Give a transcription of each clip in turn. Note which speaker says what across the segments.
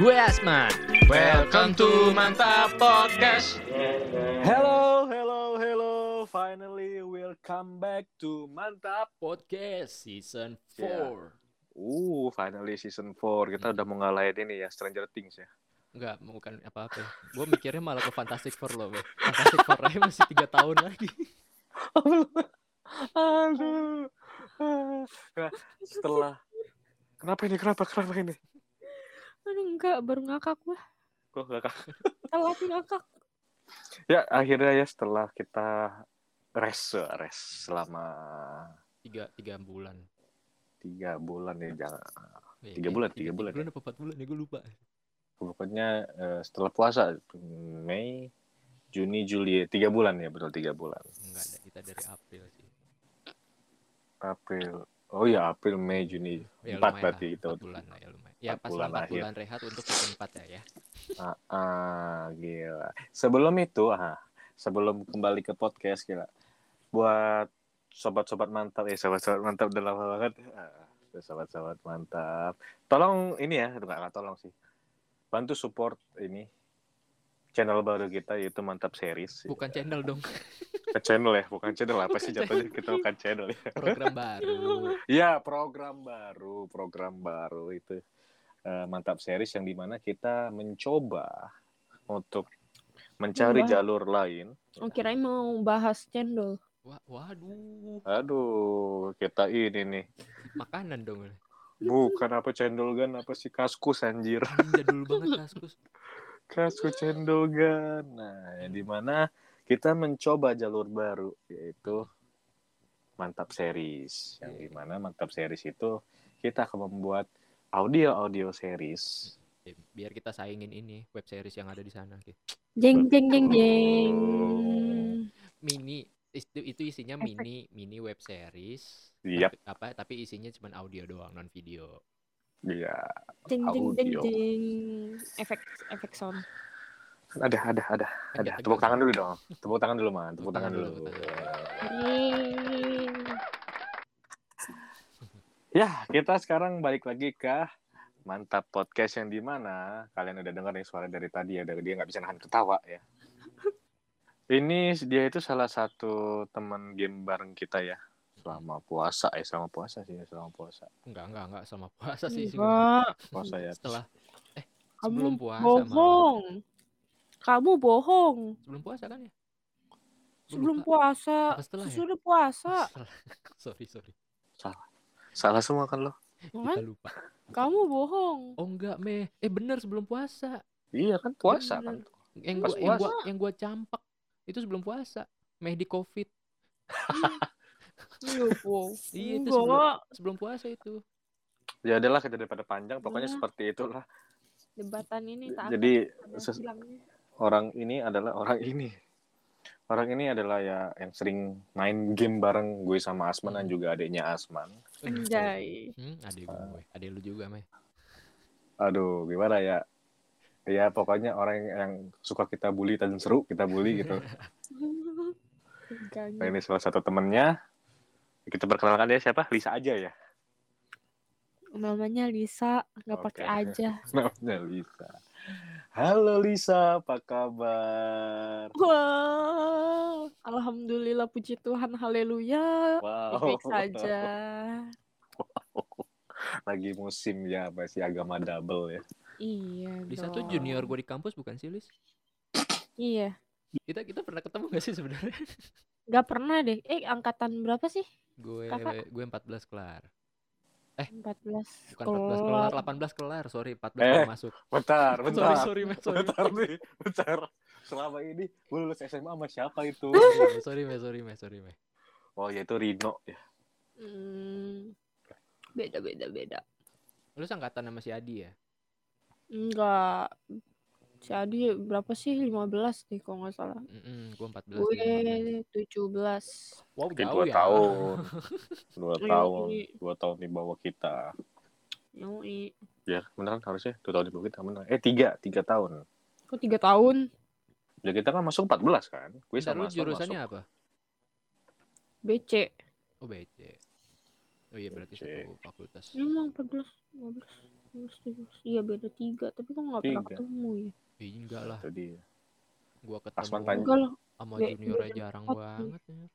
Speaker 1: Gue Asman.
Speaker 2: Welcome to Mantap Podcast.
Speaker 3: Hello, hello, hello. Finally we'll come back to Mantap.
Speaker 1: Podcast Season 4.
Speaker 3: Iya. Uh, finally season 4. Kita udah mau ngalahin ini ya Stranger Things ya.
Speaker 1: Enggak, bukan apa-apa. Gue mikirnya malah ke Fantastic Four loh. Be. Fantastic Four aja masih 3 tahun lagi.
Speaker 3: Aduh. Nah, setelah Kenapa ini? Kenapa? Kenapa ini?
Speaker 4: Aduh enggak, baru ngakak gua.
Speaker 3: Kok gak kak-
Speaker 4: Telat ngakak.
Speaker 3: Ya, akhirnya ya setelah kita rest, rest selama
Speaker 1: 3 3 bulan.
Speaker 3: tiga bulan ya jangan
Speaker 1: Iya, iya,
Speaker 3: Tiga bulan,
Speaker 1: tiga-
Speaker 3: tiga
Speaker 1: tiga
Speaker 3: bulan
Speaker 1: bulan apa 4 bulan ya gue lupa.
Speaker 3: pokoknya eh, setelah puasa Mei Juni Juli tiga bulan ya betul tiga bulan
Speaker 1: Enggak ada kita dari April sih.
Speaker 3: April oh ya April Mei Juni Empat
Speaker 1: Ya, lumayan
Speaker 3: berarti
Speaker 1: lah,
Speaker 3: gitu. itu.
Speaker 1: empat bulan lah ya lumayan. Ya
Speaker 3: Empat
Speaker 1: pas
Speaker 3: bulan
Speaker 1: 4 bulan,
Speaker 3: akhir.
Speaker 1: rehat untuk season 4 ya ya.
Speaker 3: Ah, ah, gila. Sebelum itu, ah, sebelum kembali ke podcast, gila. Buat sobat-sobat mantap, eh sobat-sobat mantap udah lama banget. Ah, sobat-sobat mantap. Tolong ini ya, enggak enggak tolong sih. Bantu support ini channel baru kita yaitu Mantap Series.
Speaker 1: Bukan channel dong,
Speaker 3: Eh, channel ya, bukan channel apa sih jatuhnya kita bukan channel ya.
Speaker 1: program baru.
Speaker 3: Iya, program baru, program baru itu eh, Mantap Series yang dimana kita mencoba untuk mencari
Speaker 4: Wah.
Speaker 3: jalur lain
Speaker 4: Oh, kirain mau bahas cendol.
Speaker 1: Wah, waduh,
Speaker 3: Aduh, kita ini nih.
Speaker 1: makanan dong.
Speaker 3: Bukan apa cendol gan, apa sih kaskus anjir.
Speaker 1: Anjing jadul banget kaskus.
Speaker 3: Kaskus cendol gan. Nah, di mana kita mencoba jalur baru yaitu Mantap Series. Yang di mana Mantap Series itu kita akan membuat audio-audio series.
Speaker 1: Ya, biar kita saingin ini web series yang ada di sana. gitu. Ki.
Speaker 4: Jeng jeng jeng jeng.
Speaker 1: Mini itu, itu isinya mini mini web series.
Speaker 3: Yap.
Speaker 1: Tapi, apa tapi isinya cuma audio doang non video.
Speaker 3: Iya,
Speaker 4: Jeng jeng jeng
Speaker 3: Audio.
Speaker 4: jeng. Efek efek sound.
Speaker 3: ada ada
Speaker 1: Kan
Speaker 3: ada ada.
Speaker 1: kita-
Speaker 3: Tepuk tangan dulu dong. Tepuk tangan dulu, Man.
Speaker 1: Tepuk
Speaker 3: Tepuk tangan
Speaker 1: tangan
Speaker 3: dulu.
Speaker 1: dulu, tepuk
Speaker 4: Yeay.
Speaker 3: Ya, kita sekarang balik lagi ke Mantap Podcast yang di mana kalian udah dengar nih suara dari tadi ya dari dia nggak bisa nahan ketawa ya. Ini dia itu salah satu teman game bareng kita ya selama puasa ya selama puasa sih ya, selama puasa
Speaker 1: Enggak enggak enggak sama puasa sih sebenarnya.
Speaker 4: Wah,
Speaker 3: puasa ya
Speaker 1: Setelah sebelum
Speaker 4: kamu
Speaker 1: puasa malah.
Speaker 4: bohong. Kamu bohong.
Speaker 1: Sebelum puasa kan ya? Gua
Speaker 4: Sebelum
Speaker 1: lupa.
Speaker 4: puasa,
Speaker 1: Apa setelah ya?
Speaker 4: sesudah puasa,
Speaker 1: Salah. sorry sorry.
Speaker 3: salah semua kan lo
Speaker 4: kan?
Speaker 1: Kita lupa.
Speaker 4: Kamu bohong.
Speaker 1: Oh enggak meh. Eh bener sebelum puasa.
Speaker 3: iya kan puasa kan
Speaker 1: Bener. Yang
Speaker 3: Pas
Speaker 1: gua, yang gua
Speaker 3: puasa.
Speaker 1: yang gua campak itu sebelum puasa. Meh di covid.
Speaker 4: Iya, bohong.
Speaker 1: Iya, itu
Speaker 4: Enggak.
Speaker 1: sebelum- sebelum puasa itu.
Speaker 3: ya adalah kita daripada panjang pokoknya
Speaker 4: Iya.
Speaker 3: seperti itulah
Speaker 4: Debatan ini tak akan
Speaker 3: jadi
Speaker 4: ada
Speaker 3: ses-
Speaker 4: hilangnya.
Speaker 3: orang ini adalah orang ini orang ini adalah ya yang sering main game bareng gue sama Asman dan juga adiknya Asman
Speaker 4: Anjay.
Speaker 1: Hmm, ada gue, ada lu juga, Meh.
Speaker 3: aduh gimana ya ya pokoknya orang yang- yang suka kita bully dan seru kita bully gitu nah,
Speaker 4: Enggaknya.
Speaker 3: ini salah satu temennya kita perkenalkan dia siapa Lisa aja ya
Speaker 4: Namanya Lisa, nggak
Speaker 3: Oke.
Speaker 4: pakai aja.
Speaker 3: namanya Lisa halo Lisa apa kabar
Speaker 4: Wah, alhamdulillah puji Tuhan, haleluya.
Speaker 3: wow
Speaker 4: Baik saja.
Speaker 3: lagi musim ya masih agama double ya
Speaker 4: Iya.
Speaker 1: Lisa tuh
Speaker 4: dong.
Speaker 1: junior gue di kampus bukan sih, Lis?
Speaker 4: Iya.
Speaker 1: Kita kita pernah ketemu gak sih sebenarnya?
Speaker 4: Gak pernah deh. Eh, angkatan berapa sih?
Speaker 1: Gue
Speaker 4: Kakak.
Speaker 1: gue 14 kelar.
Speaker 4: 14.
Speaker 1: Bukan 14 kelar,
Speaker 4: kelar.
Speaker 1: 18 kelar. Sorry, 14
Speaker 3: Eh,
Speaker 1: baru masuk.
Speaker 3: bentar
Speaker 1: Sorry,
Speaker 3: bentar
Speaker 1: sorry, Meh. Sorry.
Speaker 3: Bentar nih, bentar. Selama ini gue lulus SMA sama siapa itu?
Speaker 1: Sorry, sorry, Meh. Sorry, Meh. Sorry, Meh.
Speaker 3: Oh, yaitu Rino. Ya.
Speaker 4: Hmm, beda beda beda.
Speaker 1: Lu angkatan sama si Adi ya?
Speaker 4: Enggak. Si Adi berapa sih? 15 nih kalau nggak salah.
Speaker 1: Mm gue 14. dia 15.
Speaker 4: Gue 17.
Speaker 1: Wow,
Speaker 3: Mungkin
Speaker 1: jauh
Speaker 3: dua
Speaker 1: ya.
Speaker 3: tahun. Dua
Speaker 4: Iya,
Speaker 3: tahun.
Speaker 4: iya.
Speaker 3: Dua tahun di bawah kita.
Speaker 4: Yoi.
Speaker 3: Ya, beneran harusnya. Dua tahun di bawah kita. Beneran. Eh, tiga. Tiga tahun.
Speaker 4: Kok tiga tahun?
Speaker 3: Ya, kita kan masuk 14 kan? Gue
Speaker 1: Bentar,
Speaker 3: sama
Speaker 1: lu
Speaker 3: Aston
Speaker 1: jurusannya
Speaker 3: masuk.
Speaker 1: apa?
Speaker 4: BC.
Speaker 1: Oh, BC. Oh iya berarti
Speaker 3: BC.
Speaker 4: Hmm.
Speaker 1: satu fakultas.
Speaker 4: Emang 14, 15. Iya beda tiga, tapi kok nggak pernah
Speaker 3: Tiga.
Speaker 4: ketemu ya?
Speaker 1: Ih, enggak lah.
Speaker 3: Itu dia.
Speaker 1: Gua ketemu
Speaker 3: Asman tanya.
Speaker 4: Enggak lah,
Speaker 1: sama
Speaker 4: Be-
Speaker 1: juniornya
Speaker 4: beda
Speaker 1: jarang
Speaker 4: empat,
Speaker 1: banget. ya.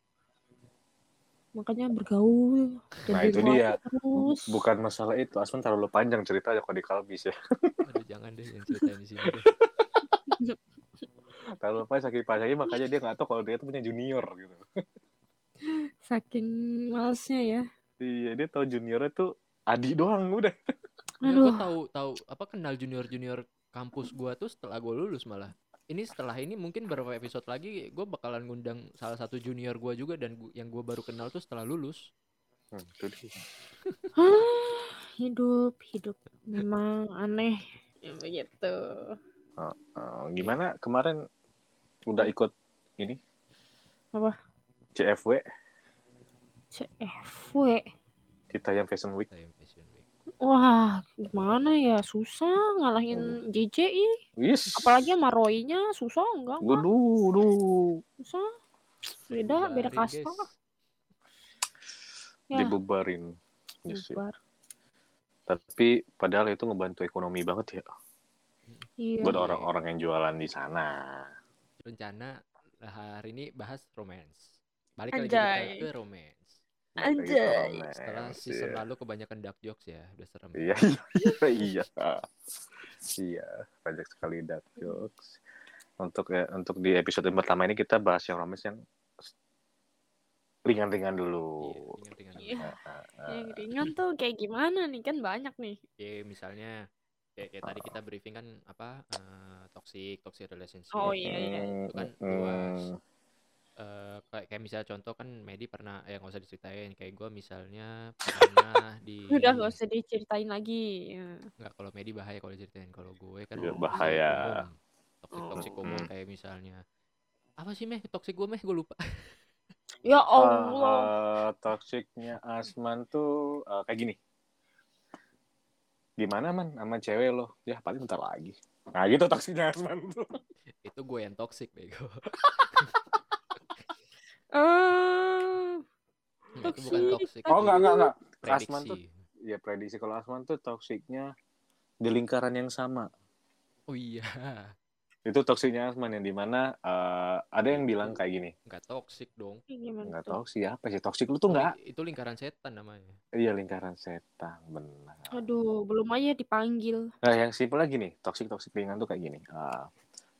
Speaker 4: makanya bergaul. Dan
Speaker 3: Nah, itu
Speaker 4: bergaul
Speaker 3: dia.
Speaker 4: Terus.
Speaker 3: Bukan masalah itu, Asman terlalu panjang ceritanya kalau di kalbis ya.
Speaker 1: Aduh, jangan deh yang ceritain di sini. deh.
Speaker 3: Terlalu panjang sakit panjangnya makanya dia nggak tahu kalau dia tuh punya junior gitu.
Speaker 4: Saking malesnya ya.
Speaker 3: Iya, dia tahu juniornya tuh Adi doang udah. Iya.
Speaker 1: Ya, gue
Speaker 4: Aduh.
Speaker 1: tahu tahu apa kenal junior junior kampus gua tuh setelah gue lulus malah. Ini setelah ini mungkin beberapa episode lagi gue bakalan ngundang salah satu junior gua juga dan gu- yang gue baru kenal tuh setelah lulus.
Speaker 3: Hmm, itu dia.
Speaker 4: Hah, ah, hidup, hidup memang aneh. Ya, begitu.
Speaker 3: Eh, gimana kemarin udah ikut ini?
Speaker 4: Apa?
Speaker 3: CFW,
Speaker 4: CFW.
Speaker 3: kita yang Fashion Week.
Speaker 1: Time Fashion Week.
Speaker 4: Wah, gimana ya? Susah ngalahin JJI.
Speaker 3: Yes.
Speaker 4: Apalagi sama Roy-nya susah enggak? enggak.
Speaker 3: Waduh, waduh.
Speaker 4: Susah. Beda, beda
Speaker 1: Dibarin,
Speaker 4: kasta.
Speaker 1: guys.
Speaker 4: Ya.
Speaker 3: Dibubarin. Yes, ya.
Speaker 4: Bubar.
Speaker 3: Tapi padahal itu ngebantu ekonomi banget ya
Speaker 4: Iya.
Speaker 3: buat orang-orang yang jualan di sana.
Speaker 1: Rencana hari ini bahas romance. Balik lagi kita
Speaker 4: Anjay.
Speaker 1: ke romance.
Speaker 3: Balik lagi ke
Speaker 4: Anjay.
Speaker 3: romance,
Speaker 1: Setelah season
Speaker 3: ya.
Speaker 1: lalu kebanyakan dark jokes ya, udah serem.
Speaker 3: Iya, iya, iya. Iya, banyak sekali dark jokes. Untuk eh, untuk di episode yang pertama ini kita bahas yang romes yang ringan-ringan dulu.
Speaker 1: Iya, ringan-ringan.
Speaker 4: Iya.
Speaker 3: Ah, ah, ah.
Speaker 4: Yang ringan tuh kayak gimana nih? Kan banyak nih.
Speaker 1: Oke, misalnya kayak, kayak tadi kita briefing kan apa eh, toxic, toxic relationship.
Speaker 4: Oh, iya, iya.
Speaker 3: Mm,
Speaker 1: Itu kan
Speaker 3: mm,
Speaker 1: luas. Eh, kayak, kayak misalnya contoh kan Medi pernah ya nggak usah diceritain kayak gue misalnya pernah di
Speaker 3: Hmm.
Speaker 4: Udah gak usah diceritain lagi. Ya.
Speaker 1: nggak kalau Medi bahaya kalau diceritain kalau gue kan
Speaker 3: Iya,
Speaker 1: umum,
Speaker 3: bahaya.
Speaker 1: toxic toxic
Speaker 3: Oh.
Speaker 1: umum
Speaker 3: Hmm.
Speaker 1: kayak misalnya apa sih meh toxic gue meh gue lupa
Speaker 4: Ya
Speaker 3: Ah,
Speaker 4: Allah.
Speaker 3: ah, toksiknya Asman tuh ah, kayak gini. Gimana man sama cewek lo? Ya paling bentar lagi. Nah gitu toksiknya Asman tuh.
Speaker 1: itu gue yang toxic bego
Speaker 4: Ah,
Speaker 1: Nggak, Nah, itu bukan toxic
Speaker 4: Toxic.
Speaker 3: Oh enggak enggak enggak. Asman tuh
Speaker 1: prediksi
Speaker 3: ya prediksi kalau Asman tuh toksiknya di lingkaran yang sama.
Speaker 1: oh iya
Speaker 3: itu toksiknya Asman yang dimana eh, ada yang bilang kayak gini
Speaker 1: nggak toxic dong
Speaker 4: kayak gimana
Speaker 3: nggak
Speaker 4: tuh?
Speaker 3: toksik apa sih toksik lu tuh nggak
Speaker 1: itu lingkaran setan namanya
Speaker 3: iya lingkaran setan benar
Speaker 4: Aduh, belum aja dipanggil.
Speaker 3: nah yang simpel lagi nih toksik toksik ringan tuh kayak gini Eh,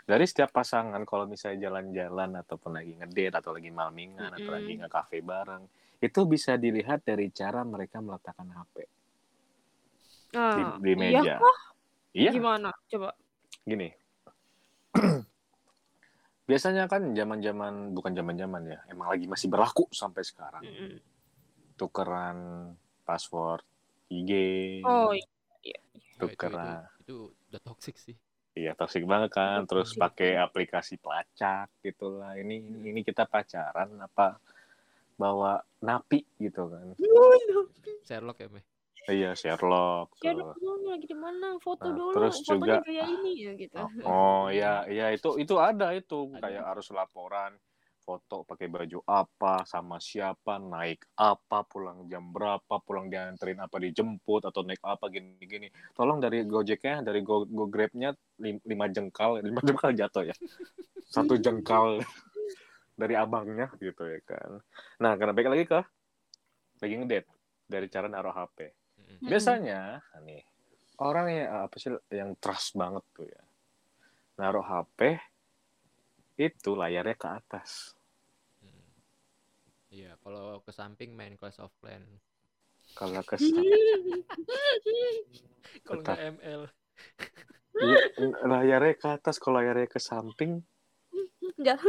Speaker 3: dari setiap pasangan kalau misalnya jalan-jalan ataupun lagi ngedate atau lagi malmingan atau
Speaker 4: Mm-mm.
Speaker 3: lagi nge cafe bareng itu bisa dilihat dari cara mereka meletakkan HP di,
Speaker 4: Nah,
Speaker 3: di
Speaker 4: iya
Speaker 3: meja
Speaker 4: kah?
Speaker 3: iya
Speaker 4: Gimana? Coba.
Speaker 3: gini biasanya kan zaman-zaman bukan zaman-zaman ya emang lagi masih berlaku sampai sekarang
Speaker 4: Mm-mm.
Speaker 3: tukeran password IG
Speaker 4: Oh,
Speaker 1: Nah,
Speaker 4: iya.
Speaker 1: itu, itu,
Speaker 3: tukeran
Speaker 1: itu udah toxic sih
Speaker 3: iya toksik banget kan terus
Speaker 4: Toxic.
Speaker 3: pakai aplikasi pelacak gitulah ini ini kita pacaran apa bawa napi gitu kan
Speaker 1: Sherlock ya meh
Speaker 3: iya Sherlock
Speaker 4: Ya
Speaker 3: tuh.
Speaker 4: dong, lagi di mana? Foto
Speaker 3: Nah,
Speaker 4: dulu.
Speaker 3: terus
Speaker 4: Fotonya
Speaker 3: juga- ah.
Speaker 4: kayak ini ya gitu.
Speaker 3: oh iya iya itu itu ada itu
Speaker 1: Ada.
Speaker 3: kayak harus laporan foto pakai baju apa sama siapa naik apa pulang jam berapa pulang dianterin apa dijemput atau naik apa gini gini tolong dari gojeknya dari go, go grabnya lim- lima jengkal lima jengkal jatuh ya satu jengkal dari abangnya gitu ya kan nah karena baik lagi ke lagi ngedate dari cara naruh HP
Speaker 1: Mm-mm.
Speaker 4: Mm-mm.
Speaker 3: biasanya nih orang yang eh, apa sih yang trust banget tuh ya naruh HP itu layarnya ke atas
Speaker 1: Mm. Iya, kalau ke samping main Clash of Clan.
Speaker 3: kalau ke
Speaker 1: Kalau
Speaker 3: Tetap.
Speaker 1: nggak ML.
Speaker 3: Iya, layarnya ke atas kalau layarnya ke samping
Speaker 4: Jatuh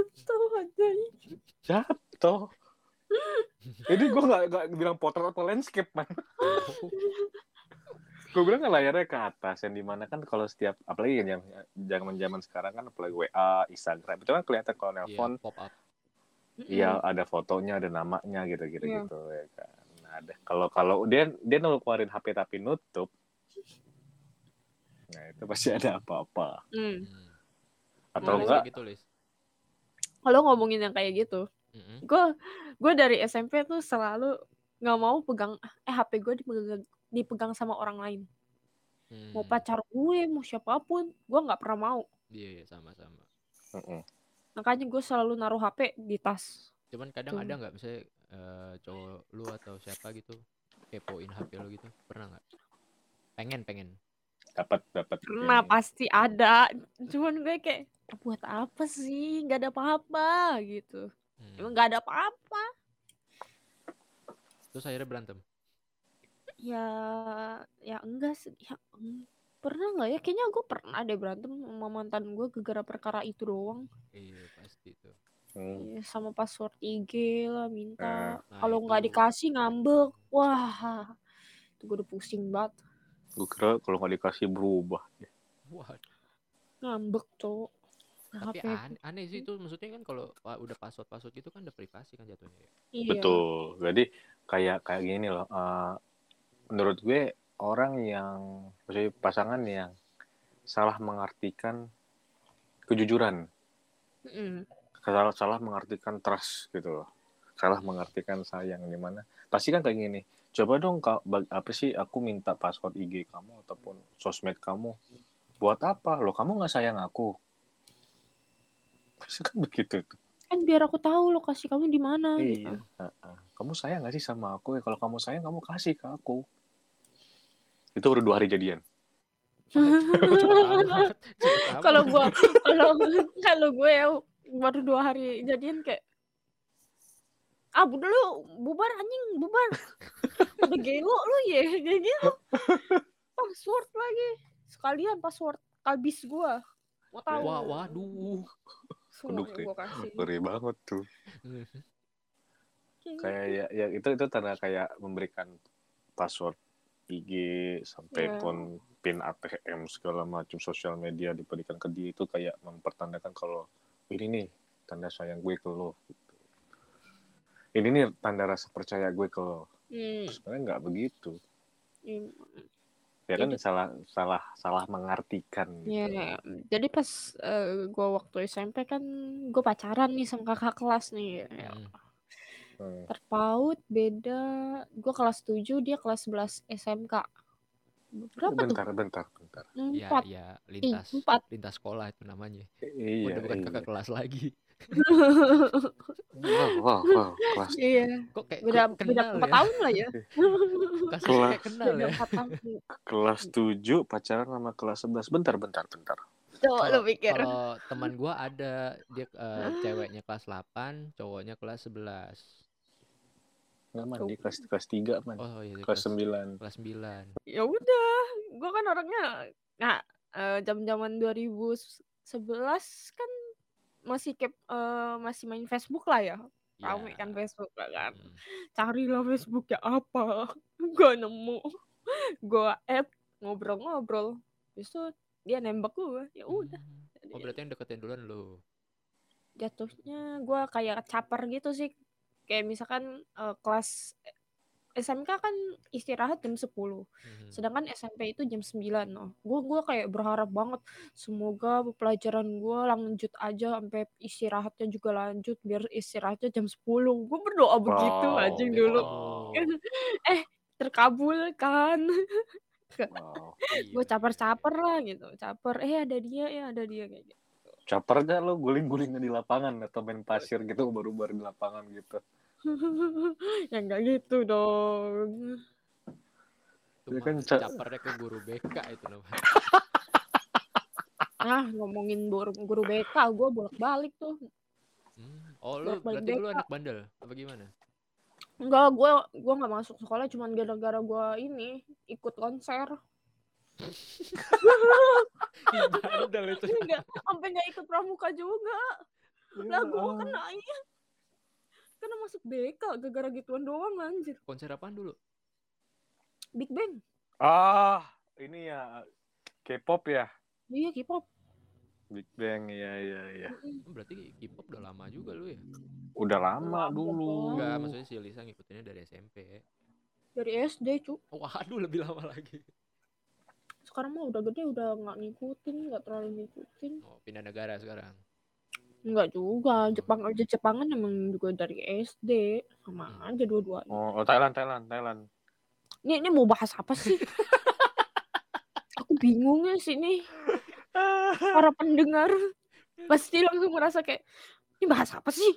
Speaker 4: aja.
Speaker 3: jatuh ini gue gak, nggak bilang potret atau landscape man gue bilang kan layarnya ke atas yang dimana kan kalau setiap apalagi yang zaman zaman sekarang kan apalagi WA Instagram itu kan kelihatan kalau
Speaker 1: Iya,
Speaker 3: nelpon
Speaker 1: pop up.
Speaker 3: Iya ada fotonya, ada namanya gitu-gitu
Speaker 4: Hmm. Iya.
Speaker 3: gitu ya kan. Nah, ada kalau kalau dia dia ngeluarin HP tapi nutup. Nah, itu pasti ada apa-apa.
Speaker 1: Mm.
Speaker 4: Mm. Nah,
Speaker 3: Atau
Speaker 1: Tulis
Speaker 3: enggak?
Speaker 1: Gitu, Lis.
Speaker 4: Kalau ngomongin yang kayak gitu,
Speaker 1: Mm-mm.
Speaker 4: gue gue dari SMP tuh selalu nggak mau pegang eh HP gue dipegang dipegang sama orang lain.
Speaker 1: Hmm.
Speaker 4: mau pacar gue mau siapapun gue nggak pernah mau
Speaker 1: Iya, iya, sama-sama.
Speaker 4: iya.
Speaker 3: Mm-mm.
Speaker 4: makanya gue selalu naruh HP di tas
Speaker 1: Cuman kadang
Speaker 4: Betul.
Speaker 1: ada nggak misalnya eh, cowok lu atau siapa gitu kepoin HP lu gitu? Pernah nggak? Pengen, pengen.
Speaker 3: dapat dapat
Speaker 4: pernah
Speaker 1: Hmm.
Speaker 3: ini.
Speaker 4: pasti ada cuman gue kayak buat apa sih nggak ada apa-apa gitu
Speaker 1: Hmm.
Speaker 4: emang nggak ada apa-apa
Speaker 1: Terus akhirnya berantem.
Speaker 4: ya ya enggak sih ya, eng- pernah nggak ya kayaknya gue pernah deh berantem sama mantan gue gara perkara itu doang
Speaker 1: Iya, pasti tuh.
Speaker 3: Hmm.
Speaker 4: Ya, sama password IG lah minta
Speaker 1: Nah,
Speaker 4: kalau nggak
Speaker 1: itu.
Speaker 4: dikasih ngambek wah itu gue udah pusing banget
Speaker 3: Gue kira kalau nggak dikasih berubah.
Speaker 1: Wah,
Speaker 4: ngambek cowok Nah,
Speaker 1: tapi
Speaker 4: HP gue-
Speaker 1: aneh, aneh sih itu maksudnya kan kalau pa- udah password-password gitu kan udah privasi kan jatuhnya ya.
Speaker 4: iya.
Speaker 3: Betul. Jadi kayak kayak gini loh. eh, menurut gue orang yang maksudnya pasangan yang salah mengartikan kejujuran,
Speaker 4: Mm-mm.
Speaker 3: salah salah mengartikan trust gitu loh. Salah mengartikan sayang di mana? Pasti kan kayak gini. Coba dong Kak, bag- apa sih aku minta password IG kamu ataupun sosmed kamu. Buat apa? Loh, kamu nggak sayang aku. Pasti kan begitu tuh.
Speaker 4: kan biar aku tahu lokasi kamu di mana
Speaker 3: Iya.
Speaker 4: gitu.
Speaker 3: Heeh. Kamu sayang gak sih sama aku? Ya, kalau kamu sayang, kamu kasih ke aku. Itu baru dua hari jadian.
Speaker 4: kalau gua kalau kalau gue ya baru dua hari jadian kayak ah bu dulu bubar anjing bubar udah gelo lu ya kayak gitu password lagi sekalian password kalbis gua mau tahu
Speaker 1: Wah, waduh.
Speaker 4: Semuanya
Speaker 3: Keduk,
Speaker 4: gua kasih
Speaker 3: Ngeri banget tuh.
Speaker 4: gitu.
Speaker 3: Kayak ya, ya itu itu tanda kayak memberikan password IG sampai
Speaker 4: Iya.
Speaker 3: pun pin ATM segala macam sosial media diberikan ke dia itu kayak mempertandakan kalau ini nih tanda sayang gue ke lo. gitu. Ini nih tanda rasa percaya gue ke lo.
Speaker 4: Hmm,
Speaker 3: Sebenarnya nggak begitu.
Speaker 4: iya.
Speaker 3: Ya kan
Speaker 4: Jadi-
Speaker 3: salah salah salah mengartikan.
Speaker 4: Iya,
Speaker 3: gitu.
Speaker 4: iya. jadi pas eh, gua waktu SMP kan gua pacaran nih sama kakak kelas nih Ya,
Speaker 1: Hmm.
Speaker 3: Hmm.
Speaker 4: Terpaut beda gue kelas 7 dia kelas 11 SMK. Berapa
Speaker 3: bentar,
Speaker 4: tuh?
Speaker 3: bentar, bentar.
Speaker 1: Ya,
Speaker 4: Empat.
Speaker 1: ya,
Speaker 4: Ih,
Speaker 1: lintas
Speaker 4: empat.
Speaker 1: lintas sekolah itu namanya.
Speaker 3: Iya,
Speaker 1: Udah bukan
Speaker 3: iya.
Speaker 1: kakak kelas lagi.
Speaker 3: Wow, wow, wow, kelas.
Speaker 4: Iya,
Speaker 1: ya, Kok kayak
Speaker 4: beda
Speaker 1: kenal
Speaker 4: beda
Speaker 1: ya?
Speaker 4: empat tahun lah ya.
Speaker 1: Kasusnya kayak kenal
Speaker 4: beda
Speaker 1: ya.
Speaker 4: empat tahun.
Speaker 3: Kelas 7 pacaran sama kelas 11. Bentar, bentar, bentar.
Speaker 4: Coba lu
Speaker 1: Kalau-
Speaker 4: pikir.
Speaker 1: Kalau teman gua ada dia eh,
Speaker 4: Ah.
Speaker 1: ceweknya kelas 8, cowoknya kelas 11.
Speaker 3: Enggak man, dia kelas kelas 3, man.
Speaker 1: Oh iya dia
Speaker 3: kelas 9.
Speaker 1: kelas 9.
Speaker 4: Ya udah, gue kan orangnya nah jam-jaman 2011 kan masih kep, eh, masih main Facebook lah ya.
Speaker 1: Iya.
Speaker 4: Rame kan Facebook lah kan.
Speaker 1: Hmm.
Speaker 4: carilah Facebooknya apa gue nemu gue add ngobrol-ngobrol Habis itu dia nembak gue ya udah
Speaker 1: Oh berarti yang deketin duluan lu.
Speaker 4: jatuhnya gue kayak caper gitu sih kayak misalkan eh, kelas SMK kan istirahat jam 10
Speaker 1: Mhm.
Speaker 4: sedangkan SMP itu jam 9 no. gue gua kayak berharap banget semoga pelajaran gue lanjut aja sampai istirahatnya juga lanjut biar istirahatnya jam 10 gue berdoa begitu
Speaker 3: Wow.
Speaker 4: anjing
Speaker 1: Oh, Bego
Speaker 4: dulu
Speaker 1: lu.
Speaker 4: terkabul kan
Speaker 3: Wow.
Speaker 1: Iya,
Speaker 4: gue
Speaker 1: iya,
Speaker 4: caper-caper lah gitu caper eh ada dia ya ada dia kayak gitu
Speaker 3: Caper gak lo guling-gulingnya di lapangan atau main pasir gitu baru-baru di lapangan gitu.
Speaker 4: ya nggak gitu dong
Speaker 1: iya. Itu
Speaker 3: Dia
Speaker 1: mah
Speaker 3: kan ca-
Speaker 1: capernya ke guru BK itu namanya.
Speaker 4: ah ngomongin guru, guru BK gue bolak-balik tuh
Speaker 1: Hmm. Oh lu
Speaker 4: Buat main
Speaker 1: berarti lu
Speaker 4: BK.
Speaker 1: anak bandel apa gimana?
Speaker 4: enggak gue gua nggak masuk sekolah cuman gara-gara gue ini ikut konser
Speaker 1: Ih, bandel itu.
Speaker 4: enggak sampai nggak ikut pramuka juga lah kan gue
Speaker 3: Ya
Speaker 4: kena ini kena masuk BK gara-gara gituan doang anjir
Speaker 1: Konser apaan dulu?
Speaker 4: Big Bang
Speaker 3: Ah, ini ya K-pop ya.
Speaker 4: iya K-pop
Speaker 3: Big Bang ya ya ya.
Speaker 1: Kan Berarti K-pop udah lama juga lu ya?
Speaker 3: Udah lama
Speaker 4: Lama
Speaker 3: dulu.
Speaker 1: Enggak, maksudnya si Lisa ngikutinnya dari SMP.
Speaker 4: dari SD cu
Speaker 1: Waduh, lebih lama lagi.
Speaker 4: sekarang mah udah gede udah nggak ngikutin nggak terlalu ngikutin
Speaker 1: Oh, pindah negara sekarang.
Speaker 4: Enggak juga,
Speaker 1: Hmm.
Speaker 4: Jepang aja Jepangan emang juga dari SD sama
Speaker 1: Hmm.
Speaker 4: aja dua-duanya.
Speaker 3: Oh, oh, Thailand, Thailand, Thailand.
Speaker 4: Ini ini mau bahas apa sih? Aku bingungnya sih nih para pendengar pasti langsung merasa kayak ini bahas apa sih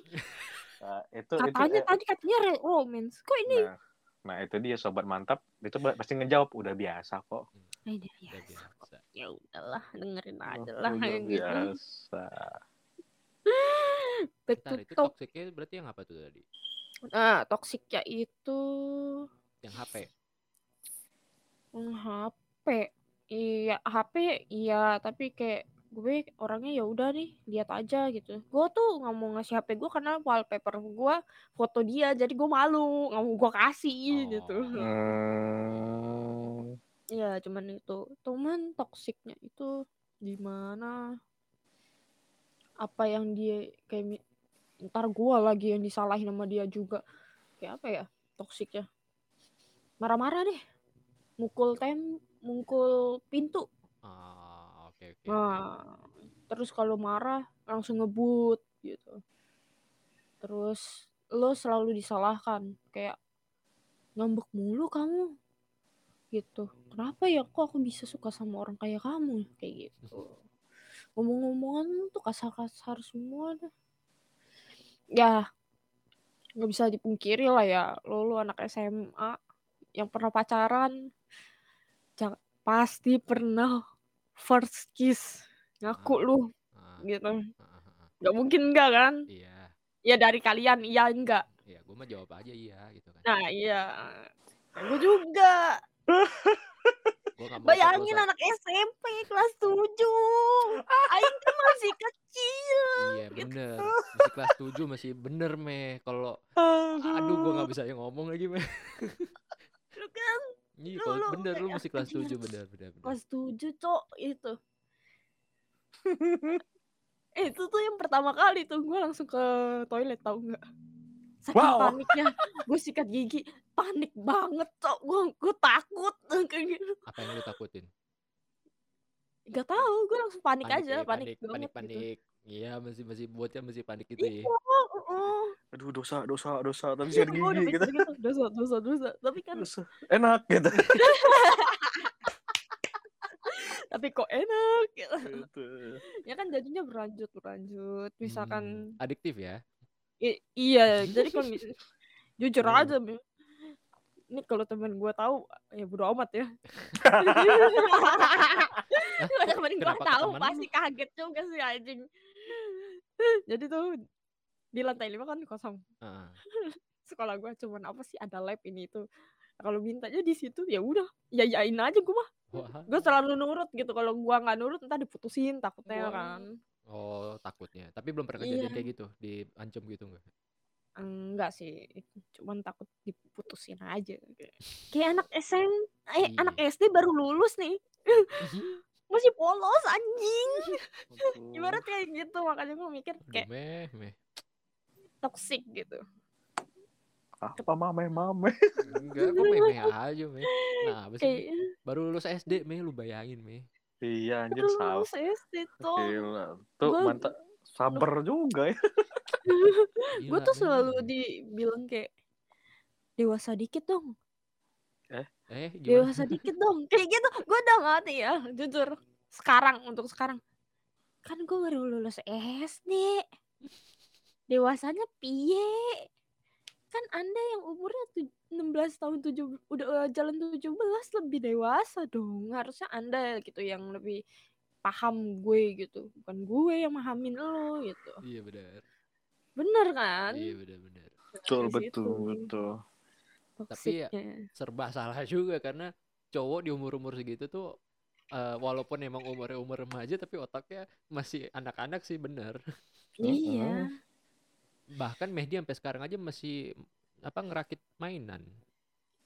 Speaker 3: Nah, itu
Speaker 4: katanya
Speaker 3: itu eh,
Speaker 4: tadi katanya re- romance kok ini
Speaker 3: nah, nah, itu dia sobat mantap itu ba- pasti ngejawab udah biasa kok
Speaker 4: Eh, dia
Speaker 1: Udah
Speaker 4: biasa.
Speaker 1: biasa.
Speaker 4: ya udahlah dengerin
Speaker 1: Oh,
Speaker 4: aja
Speaker 3: Udah
Speaker 4: lah
Speaker 1: iya,
Speaker 4: yang gitu
Speaker 3: biasa
Speaker 4: back to
Speaker 1: Bentar, itu
Speaker 4: talk
Speaker 1: toksiknya berarti yang apa tuh tadi?
Speaker 4: nah toksiknya itu
Speaker 1: Yang HP.
Speaker 4: Iya. hmm, HP iya HP iya tapi kayak gue orangnya ya udah nih lihat aja gitu gue tuh nggak mau ngasih HP gue karena wallpaper gue foto dia jadi gue malu nggak mau gue kasih
Speaker 1: Oh.
Speaker 4: gitu
Speaker 3: Hmm,
Speaker 4: Iya, cuman itu. Cuman toksiknya itu di mana? Apa yang dia kayak mi- ntar gua lagi yang disalahin sama dia juga. Kayak apa ya? Toksiknya. Marah-marah deh. Mukul tem, mukul pintu.
Speaker 1: Ah, oke oke.
Speaker 4: Nah, terus kalau marah langsung ngebut gitu. Terus lo selalu disalahkan kayak ngambek mulu kamu gitu. Kenapa ya kok aku bisa suka sama orang kayak kamu kayak gitu. Ngomong-ngomongan tuh kasar-kasar semua dah. Ya nggak bisa dipungkiri lah ya lo, lo anak SMA yang pernah pacaran jangan, pasti pernah first kiss ngaku
Speaker 1: Ah.
Speaker 4: lu
Speaker 1: Ah,
Speaker 4: gitu
Speaker 1: ah, ah, ah.
Speaker 4: nggak mungkin enggak kan
Speaker 1: Iya.
Speaker 4: ya dari kalian iya enggak
Speaker 1: Iya, gue mah jawab aja iya gitu kan.
Speaker 4: nah iya gue juga
Speaker 1: Gua nggak mau
Speaker 4: bayangin
Speaker 1: foto-foto.
Speaker 4: anak SMP kelas 7 Aing kan masih kecil
Speaker 1: Iya,
Speaker 4: gitu.
Speaker 1: bener. Masih kelas 7 masih bener meh kalau aduh gua nggak bisa ngomong lagi meh.
Speaker 4: lu kan
Speaker 1: Iya,
Speaker 4: Lu-
Speaker 1: kalau
Speaker 4: lu
Speaker 1: bener lu
Speaker 4: kayak
Speaker 1: masih kelas
Speaker 4: anjing
Speaker 1: 7
Speaker 4: lah.
Speaker 1: bener bener bener.
Speaker 4: kelas 7 cok itu itu tuh yang pertama kali tuh gue langsung ke toilet tau nggak saking
Speaker 3: Wow.
Speaker 4: paniknya gue sikat gigi panik banget cok gue gue takut kayak gitu
Speaker 1: Apa yang lu takutin?
Speaker 4: Gak tahu, gue langsung panik,
Speaker 1: ya,
Speaker 4: aja,
Speaker 1: panik,
Speaker 4: panik,
Speaker 1: panik,
Speaker 4: banget gitu.
Speaker 1: panik. Iya, masih masih buatnya masih panik gitu ya.
Speaker 4: Iya, heeh.
Speaker 3: aduh dosa dosa dosa tapi
Speaker 4: Iya,
Speaker 3: sikat
Speaker 4: gue udah
Speaker 3: gigi
Speaker 4: gitu.
Speaker 3: gitu
Speaker 4: gitu. Dosa, dosa, dosa. Tapi kan,
Speaker 3: Dosa. enak gitu
Speaker 4: Iya, tapi kok enak. gitu.
Speaker 3: Gitu.
Speaker 4: Ya kan jadinya berlanjut, berlanjut.
Speaker 1: Hmm,
Speaker 4: Misalkan,
Speaker 1: adiktif ya.
Speaker 4: i- iya, jadi kan jujur
Speaker 3: Hmm.
Speaker 4: aja. Bim. Ini kalau temen gue tahu, ya bodo amat ya. Kalau temen gue
Speaker 1: Kenapa ke
Speaker 4: tahu
Speaker 1: temen
Speaker 4: pasti kaget juga sih anjing. Jadi tuh di lantai lima kan kosong.
Speaker 1: Heeh.
Speaker 4: sekolah gue cuman apa sih ada lab ini itu Nah, kalau mintanya di situ ya udah yayain aja gue mah
Speaker 1: Wah.
Speaker 4: gue selalu nurut gitu kalau gue nggak nurut ntar diputusin
Speaker 1: Wah.
Speaker 4: takutnya kan
Speaker 1: Oh, takutnya. Tapi belum pernah
Speaker 4: Iya.
Speaker 1: kejadian kayak gitu, diancam gitu enggak?
Speaker 4: enggak sih cuman takut diputusin aja kayak anak SM eh
Speaker 1: Iya.
Speaker 4: anak SD baru lulus nih masih polos anjing
Speaker 3: Iya.
Speaker 4: ibarat kayak gitu makanya gue mikir
Speaker 1: Aduh,
Speaker 4: kayak
Speaker 1: meh, meh.
Speaker 4: toksik gitu
Speaker 3: apa mame mame
Speaker 1: Enggak, gue meh meh aja meh. Nah, abis
Speaker 4: kayak
Speaker 1: baru lulus SD meh, lu bayangin meh.
Speaker 3: iya anjir
Speaker 4: "Aduh,
Speaker 3: sabar
Speaker 4: lulus SD tuh
Speaker 3: Gila. Tuh
Speaker 4: Gua-
Speaker 3: mantap sabar juga ya.
Speaker 4: gue
Speaker 1: Gila,
Speaker 4: tuh
Speaker 1: meh.
Speaker 4: selalu dibilang kayak dewasa dikit dong
Speaker 1: eh gimana?
Speaker 4: dewasa dikit dong kayak gitu gue udah mati ya jujur sekarang untuk sekarang kan gue baru lulus SD dewasanya piye kan anda yang umurnya tu- 16 tahun 7 udah eh, jalan 17 lebih dewasa dong harusnya anda gitu yang lebih paham gue gitu bukan gue yang memahamin lo gitu
Speaker 1: Iya benar.
Speaker 4: bener kan
Speaker 1: Iya benar-benar.
Speaker 3: Betul
Speaker 4: Di situ.
Speaker 3: betul betul.
Speaker 1: Tapi ya-
Speaker 4: Toksiknya.
Speaker 1: Serba salah juga karena cowok di umur-umur segitu tuh eh, walaupun emang umurnya umur remaja tapi otaknya masih anak-anak sih bener. eh,
Speaker 4: iya
Speaker 1: Bahkan Mehdi sampai sekarang aja masih apa ngerakit mainan.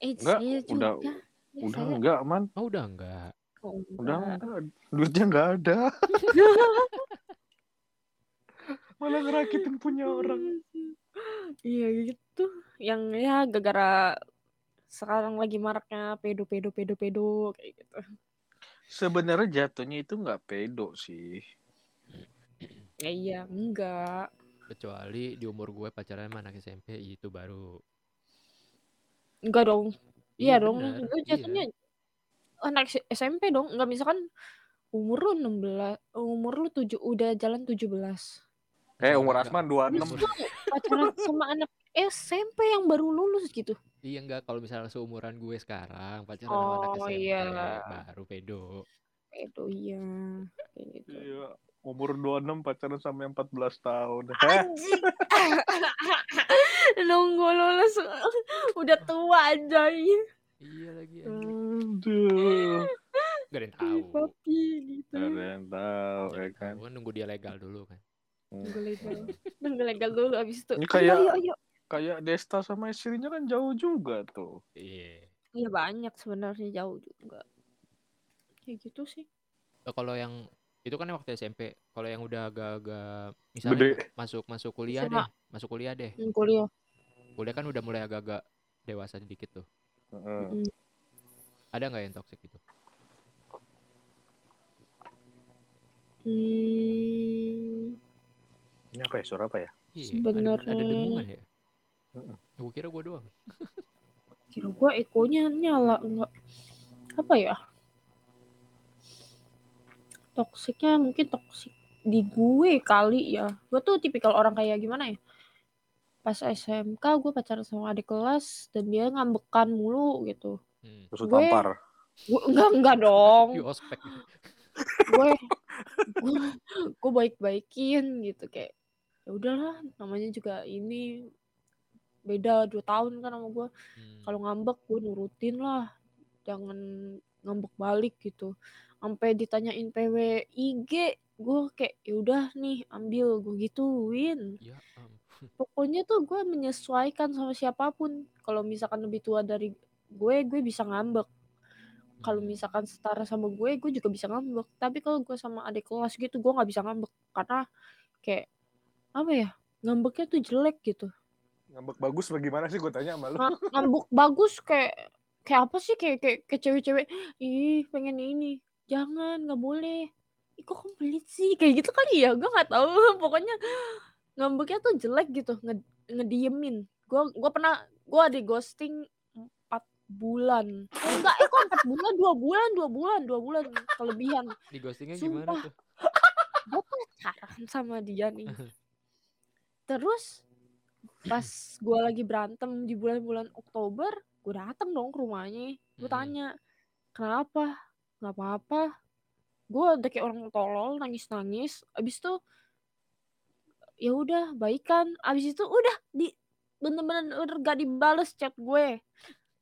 Speaker 4: eh
Speaker 3: Enggak,
Speaker 4: saya
Speaker 3: udah-
Speaker 4: juga Ya,
Speaker 3: Udah
Speaker 4: saya-
Speaker 3: enggak man,
Speaker 1: Oh udah enggak.
Speaker 4: Oh,
Speaker 3: udah
Speaker 4: enggak.
Speaker 3: enggak. Duitnya enggak ada. Malah ngerakitin punya orang.
Speaker 4: Iya gitu. Yang ya gara-gara sekarang lagi maraknya pedo pedo pedo pedo kayak gitu.
Speaker 3: Sebenarnya jatuhnya itu enggak pedo sih.
Speaker 4: Ya iya, enggak.
Speaker 1: Kecuali di umur gue pacaran sama anak SMP itu baru.
Speaker 4: Enggak dong. Iya dong.
Speaker 1: bener,
Speaker 4: Lu jatuhnya oh, anak S- SMP dong nggak misalkan umur lu 16 umur lu 7 udah jalan 17
Speaker 3: Eh umur Asman 26
Speaker 4: Terus lu pacaran sama anak SMP yang baru lulus gitu
Speaker 1: Iya enggak kalau misalnya seumuran gue sekarang pacaran sama anak
Speaker 4: Oh,
Speaker 1: SMP
Speaker 4: iya.
Speaker 1: baru pedo.
Speaker 4: itu iya kayak gitu
Speaker 3: Iya, umur 26 pacaran sama yang 14 tahun. Heh,
Speaker 4: anjing nunggu lulus udah tua aja
Speaker 1: Iya lagi anjing.
Speaker 3: Aduh.
Speaker 4: Hmm.
Speaker 1: Gak ada yang tahu.
Speaker 4: papi gitu
Speaker 3: Gak ada yang tahu
Speaker 1: Gak ada
Speaker 3: ya
Speaker 1: yang
Speaker 3: kan.
Speaker 1: tahu, kan nunggu dia legal dulu kan.
Speaker 4: nunggu legal nunggu legal dulu abis itu
Speaker 3: Ini kayak-
Speaker 4: ayo ayo, ayo.
Speaker 3: Kayak Desta sama istrinya kan jauh juga tuh.
Speaker 1: Iya.
Speaker 4: iya banyak sebenarnya jauh juga kayak gitu sih
Speaker 1: Eh, Kalau yang itu kan waktu SMP. Kalau yang udah agak-agak misalnya masuk masuk kuliah deh,
Speaker 4: SMA.
Speaker 1: masuk kuliah deh.
Speaker 4: Hmm, kuliah
Speaker 1: Kuliah kan udah mulai agak-agak dewasa sedikit tuh.
Speaker 3: Heeh.
Speaker 1: Ada nggak yang toxic gitu?
Speaker 4: hmm,
Speaker 3: Ini apa ya suara apa ya?
Speaker 1: Iya. Ada, ada
Speaker 4: Sebenarnya-
Speaker 1: dengungan ya.
Speaker 3: Heeh.
Speaker 1: Gue kira gue doang.
Speaker 4: kira gua ekonya nyala enggak apa ya toksiknya mungkin toksik di gue kali ya gue tuh tipikal orang kayak gimana ya pas SMK gue pacaran sama adik kelas dan dia ngambekan mulu gitu
Speaker 1: Hmm.
Speaker 3: Terus
Speaker 4: Gue-
Speaker 3: tampar.
Speaker 4: gue enggak enggak dong
Speaker 1: Di ospek.
Speaker 4: gue gue- gue baik baikin gitu kayak ya udahlah namanya juga ini beda dua tahun kan sama gue
Speaker 1: Hmm.
Speaker 4: kalau ngambek gue nurutin lah jangan ngambek balik gitu sampai ditanyain PW IG gue kayak ya udah nih ambil gue gituin
Speaker 1: Ya ampun.
Speaker 4: pokoknya tuh gue menyesuaikan sama siapapun kalau misalkan lebih tua dari gue gue bisa ngambek kalau
Speaker 1: Hmm.
Speaker 4: misalkan setara sama gue gue juga bisa ngambek tapi kalau gue sama adik kelas gitu gue nggak bisa ngambek karena kayak apa ya ngambeknya tuh jelek gitu
Speaker 3: Ngambek bagus bagaimana sih gue tanya sama lu.
Speaker 4: Nga- ngambek bagus kayak kayak apa sih kayak kayak, kayak cewek-cewek ih pengen ini jangan nggak boleh Ih, kok kamu pelit sih kayak gitu kali ya gue nggak tahu pokoknya ngambeknya tuh jelek gitu nge- ngediemin gue gue pernah gue di ghosting empat bulan Eh, enggak eh kok empat bulan dua bulan dua bulan dua bulan kelebihan
Speaker 1: Di ghostingnya
Speaker 4: Sumpah.
Speaker 1: gimana tuh?
Speaker 4: gue pacaran sama dia nih terus pas gue lagi berantem di bulan-bulan Oktober gue dateng dong ke rumahnya gue
Speaker 1: Mm-mm.
Speaker 4: tanya kenapa nggak apa-apa gue udah kayak orang tolol nangis-nangis abis itu ya udah baikan abis itu udah di bener-bener udah gak dibales chat gue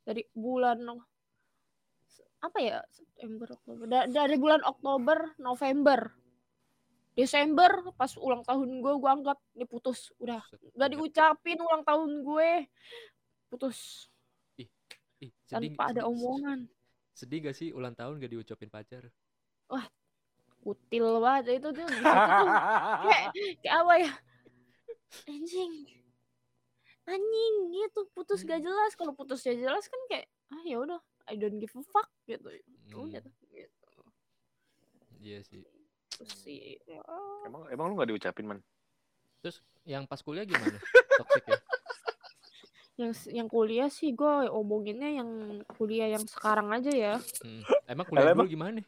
Speaker 4: dari bulan apa ya September Oktober Da- dari bulan Oktober November Desember pas ulang tahun gue gue anggap diputus udah
Speaker 1: Set, udah.
Speaker 4: gak diucapin ulang tahun gue putus
Speaker 1: Ih, sedih-
Speaker 4: tanpa ada
Speaker 1: sedih-
Speaker 4: omongan
Speaker 1: Sedih gak sih ulang tahun gak diucapin pacar?
Speaker 4: kutil banget itu tuh di situ tuh kayak kayak apa ya anjing anjing gitu putus gak jelas kalau putus gak jelas kan kayak ah ya udah I don't give a fuck gitu udah
Speaker 1: Hmm,
Speaker 4: tuh, gitu
Speaker 1: Iya sih.
Speaker 4: Terus sih ya.
Speaker 3: emang emang lu gak diucapin man?
Speaker 1: Yang pas kuliah gimana? Toxic ya?
Speaker 4: yang s- yang kuliah sih gue omonginnya yang kuliah yang sekarang aja ya
Speaker 1: Hmm. Emang kuliah
Speaker 3: Lah, emang-
Speaker 1: dulu gimana?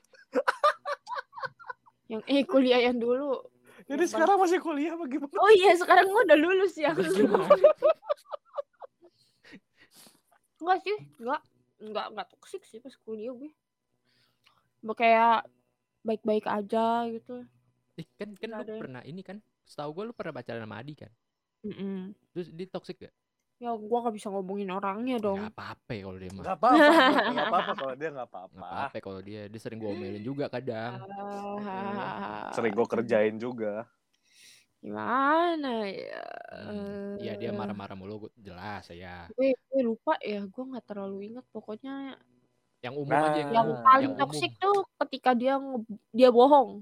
Speaker 4: yang eh kuliah yang dulu
Speaker 3: Jadi sekarang masih kuliah bagaimana?
Speaker 4: oh iya sekarang gue udah lulus ya
Speaker 1: Terus gimana?
Speaker 4: Enggak sih, enggak. Enggak, enggak toksik sih pas kuliah gue. Ba- Kayak baik-baik aja gitu.
Speaker 1: Ih, kan kan lu
Speaker 4: Nggak ada yang-
Speaker 1: pernah ini kan? Setahu gue lu pernah pacaran sama Adi kan? Terus dia toxic gak?
Speaker 4: Ya gue gak bisa ngomongin orangnya Iya dong.
Speaker 1: Gak apa-apa ya kalau dia mah.
Speaker 3: Gak apa-apa, gak apa-apa kalau dia gak
Speaker 1: Gak
Speaker 3: apa-apa.
Speaker 1: apa-apa kalau dia. Dia sering gue omelin juga kadang.
Speaker 4: Ah,
Speaker 3: Hmm, Sering gue kerjain juga.
Speaker 4: Gimana ya?
Speaker 1: Hmm, Iya dia
Speaker 4: Eh.
Speaker 1: marah-marah mulu gua- jelas ya.
Speaker 4: Gue, gue lupa ya, gue gak terlalu ingat pokoknya
Speaker 1: Yang umum
Speaker 3: Nah.
Speaker 1: aja Ah, yang,
Speaker 4: yang
Speaker 1: umum.
Speaker 4: paling
Speaker 1: umum.
Speaker 4: toksik tuh ketika dia nge- dia bohong.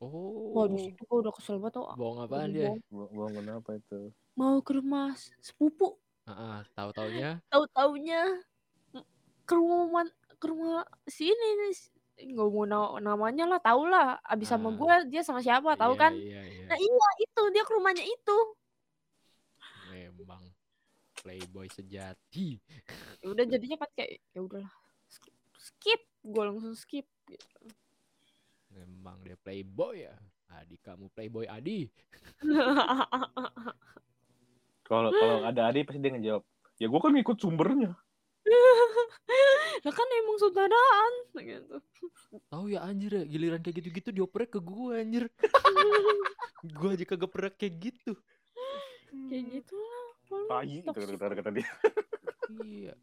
Speaker 1: Oh.
Speaker 4: Waduh, itu gue udah kesel banget tuh.
Speaker 1: Bohong apaan
Speaker 4: Aduh,
Speaker 1: dia?
Speaker 4: bohong.
Speaker 3: Gua, gua kenapa itu?
Speaker 4: Mau ke rumah sepupu
Speaker 1: Heeh, tahu-taunya
Speaker 4: tahu taunya ke rumah man- ke rumah sini nih si- nggak mau na- namanya lah tau lah abis sama
Speaker 1: Ah.
Speaker 4: gue dia sama siapa tahu
Speaker 1: Iya,
Speaker 4: kan
Speaker 1: Iya, iya.
Speaker 4: nah iya itu dia ke rumahnya itu
Speaker 1: Memang playboy sejati.
Speaker 4: Ya udah jadinya kan kayak ya udahlah skip, skip gue langsung skip
Speaker 1: Memang dia playboy ya. Adi kamu playboy Adi.
Speaker 3: Kalau kalau ada Adi pasti dia ngejawab. Ya gue kan ngikut sumbernya.
Speaker 4: lah kan emang saudaraan gitu
Speaker 1: Tahu ya anjir ya, giliran kayak gitu-gitu dioprek ke gua anjir. gua aja kagak pernah kayak gitu.
Speaker 4: kayak
Speaker 3: Hmm.
Speaker 4: gitu lah Kalau lu
Speaker 3: Tai itu
Speaker 4: toxic.
Speaker 3: kata kata dia.
Speaker 1: Iya.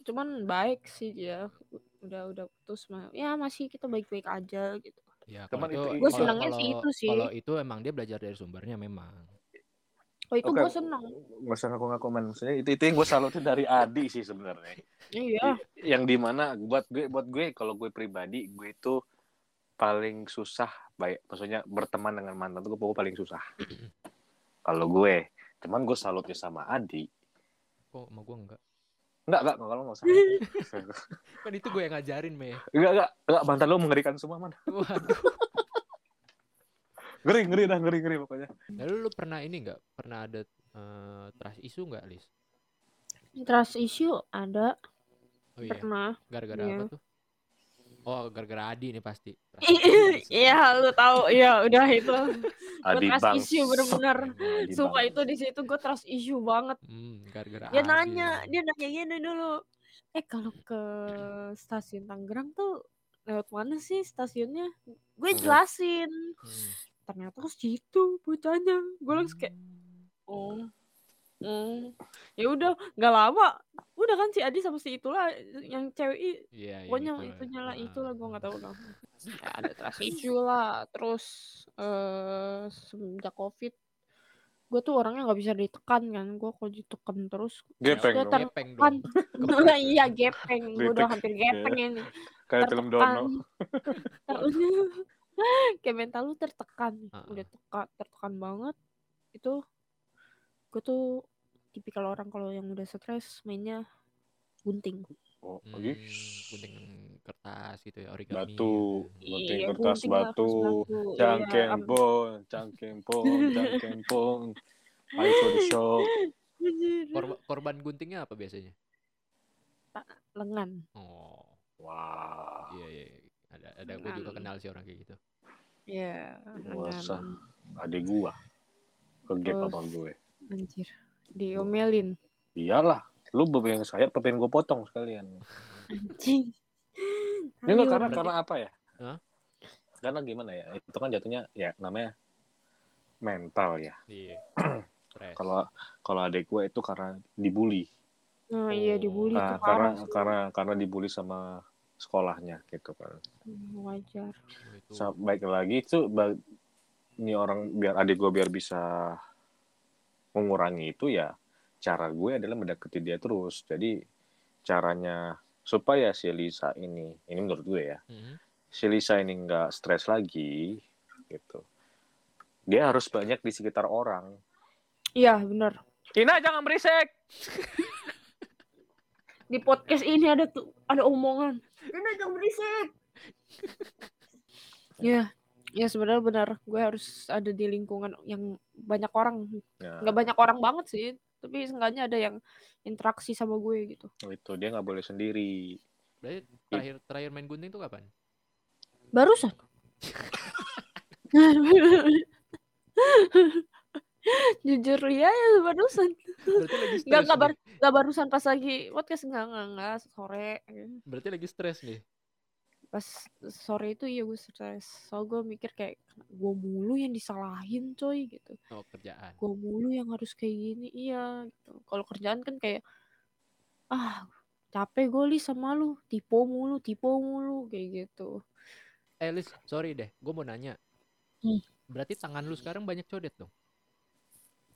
Speaker 4: cuman baik sih dia udah udah putus mah ya masih kita baik-baik aja gitu
Speaker 1: Ya,
Speaker 3: Cuman
Speaker 1: kalau
Speaker 3: itu-
Speaker 1: itu-
Speaker 3: Gua
Speaker 1: kalau-
Speaker 4: senangnya sih
Speaker 1: kalau-
Speaker 4: itu sih.
Speaker 1: Kalau itu emang dia belajar dari sumbernya memang.
Speaker 4: oh itu
Speaker 3: Oke.
Speaker 4: gue seneng
Speaker 3: Gak usah ngaku ngaku man. Maksudnya itu itu yang gue salutin dari Adi sih sebenarnya.
Speaker 4: iya
Speaker 3: Yang dimana buat gue buat gue kalau gue pribadi gue itu paling susah baik maksudnya berteman dengan mantan tuh gue pokoknya paling susah kalau gue cuman gue salutnya sama Adi
Speaker 1: Kok sama gua enggak?
Speaker 3: Enggak, enggak, kalau enggak usah.
Speaker 1: Kan itu gue yang ngajarin, Me.
Speaker 3: Enggak, enggak, enggak, mantan lo mengerikan semua, man.
Speaker 1: Waduh.
Speaker 3: Ngeri, ngeri dah, ngeri, ngeri pokoknya.
Speaker 1: Lalu lu pernah ini enggak? Pernah ada eh, trust issue enggak, Lis?
Speaker 3: Iya.
Speaker 4: trust issue ada
Speaker 1: Oh iya,
Speaker 4: pernah
Speaker 1: gara-gara
Speaker 4: Iya.
Speaker 1: apa tuh? Oh, gara-gara Adi nih pasti. Trust issue.
Speaker 4: iya lu tahu ya udah itu
Speaker 3: Adi
Speaker 4: trust
Speaker 3: bang.
Speaker 4: issue bener-bener.
Speaker 3: Adi
Speaker 4: sumpah
Speaker 3: bang.
Speaker 4: itu di situ gue trust issue banget
Speaker 1: Hmm, gara-gara
Speaker 4: dia
Speaker 1: Adi
Speaker 4: nanya
Speaker 1: lagi.
Speaker 4: dia nanya gini dulu eh kalau ke stasiun Tangerang tuh lewat mana sih stasiunnya gue
Speaker 1: Hmm.
Speaker 4: jelasin
Speaker 1: Hmm.
Speaker 4: ternyata ke situ bocahnya gue langsung kayak oh hmm. ya udah nggak lama udah kan si Adi sama si itulah yang cewek i-
Speaker 1: Iya, iya,
Speaker 4: pokoknya
Speaker 1: itulah.
Speaker 4: itunya lah
Speaker 1: Ah.
Speaker 4: itulah gue nggak tahu lah ya, ada trust issue lah terus eh semenjak covid gue tuh orangnya nggak bisa ditekan kan gue kalau ditekan terus
Speaker 3: Gepeng
Speaker 4: Dia
Speaker 3: dong.
Speaker 4: ter-
Speaker 1: Gepeng
Speaker 4: kan
Speaker 1: dong.
Speaker 4: Nah, iya gepeng, gue udah
Speaker 3: Kritik.
Speaker 4: hampir gepeng ini.
Speaker 3: Kayak film Dono.
Speaker 4: Tertekan. Kayak mental lu tertekan,
Speaker 1: Ah,
Speaker 4: udah teka, tertekan banget. Itu gue tuh tipikal orang kalau yang udah stres mainnya gunting.
Speaker 3: Oh,
Speaker 1: Hmm,
Speaker 3: lagi.
Speaker 1: gunting kertas gitu ya, origami. gitu.
Speaker 3: Batu, gunting
Speaker 4: Iya,
Speaker 3: kertas
Speaker 4: gunting lah, kertas
Speaker 3: batu,
Speaker 4: batu. Iya,
Speaker 3: cangkeng
Speaker 4: am-
Speaker 3: pong, cangkeng pong, cangkeng pong. Ayo Photoshop.
Speaker 4: anjir.
Speaker 1: Korba- korban guntingnya apa biasanya?
Speaker 4: lengan.
Speaker 1: Oh,
Speaker 3: Wah.
Speaker 1: iya iya. iya. Ada ada gue juga
Speaker 4: Lengan.
Speaker 1: kenal sih orang kayak gitu.
Speaker 4: Iya,
Speaker 3: Masa?
Speaker 4: lengan.
Speaker 3: Adik gua. Kegep
Speaker 4: Terus.
Speaker 3: apa gue.
Speaker 4: Anjir. Diomelin.
Speaker 3: Iyalah. Lu beberapa sayap pengen gue potong sekalian.
Speaker 4: Anjing.
Speaker 3: Ya enggak
Speaker 4: Ayo.
Speaker 3: karena karena apa ya?
Speaker 1: Hah?
Speaker 3: Karena gimana ya? Itu kan jatuhnya ya namanya mental ya.
Speaker 1: Iya. Stres.
Speaker 3: Kalau kalau adik gue itu karena dibully.
Speaker 4: Nah, iya dibully
Speaker 3: Nah,
Speaker 4: tuh
Speaker 3: karena
Speaker 4: parah.
Speaker 3: karena karena dibully sama sekolahnya gitu kan.
Speaker 4: Hmm, Wajar.
Speaker 1: Oh, itu.
Speaker 3: Sa- baik lagi itu ba- ini orang biar adik gue biar bisa mengurangi itu ya cara gue adalah mendekati dia terus. Jadi caranya supaya si Lisa ini ini menurut gue ya
Speaker 1: Mhm.
Speaker 3: si Lisa ini nggak stres lagi gitu dia harus banyak di sekitar orang
Speaker 4: Iya, benar.
Speaker 2: Tina jangan berisik.
Speaker 4: di podcast ini ada tuh ada omongan ini jangan berisik ya ya sebenarnya benar gue harus ada di lingkungan yang banyak orang
Speaker 3: nah
Speaker 4: nggak banyak orang banget sih tapi seenggaknya ada yang interaksi sama gue gitu
Speaker 3: oh itu dia nggak boleh sendiri
Speaker 1: Berarti terakhir terakhir main gunting tuh kapan?
Speaker 4: barusan jujur ya, ya barusan
Speaker 1: Berarti lagi stres.
Speaker 4: nggak nggak
Speaker 1: nih.
Speaker 4: bar- nggak barusan pas lagi podcast nggak nggak nggak sore
Speaker 1: Berarti lagi stres nih.
Speaker 4: pas sore itu iya gue stres so gue mikir kayak gue mulu yang disalahin coy gitu
Speaker 1: Oh, kerjaan.
Speaker 4: gue mulu yang harus kayak gini iya gitu kalau kerjaan kan kayak ah capek gue li sama lu tipe mulu tipe mulu kayak gitu
Speaker 1: Eh, Lis, sorry deh. Gue mau nanya.
Speaker 4: Hmm.
Speaker 1: Berarti tangan lu sekarang banyak codet dong?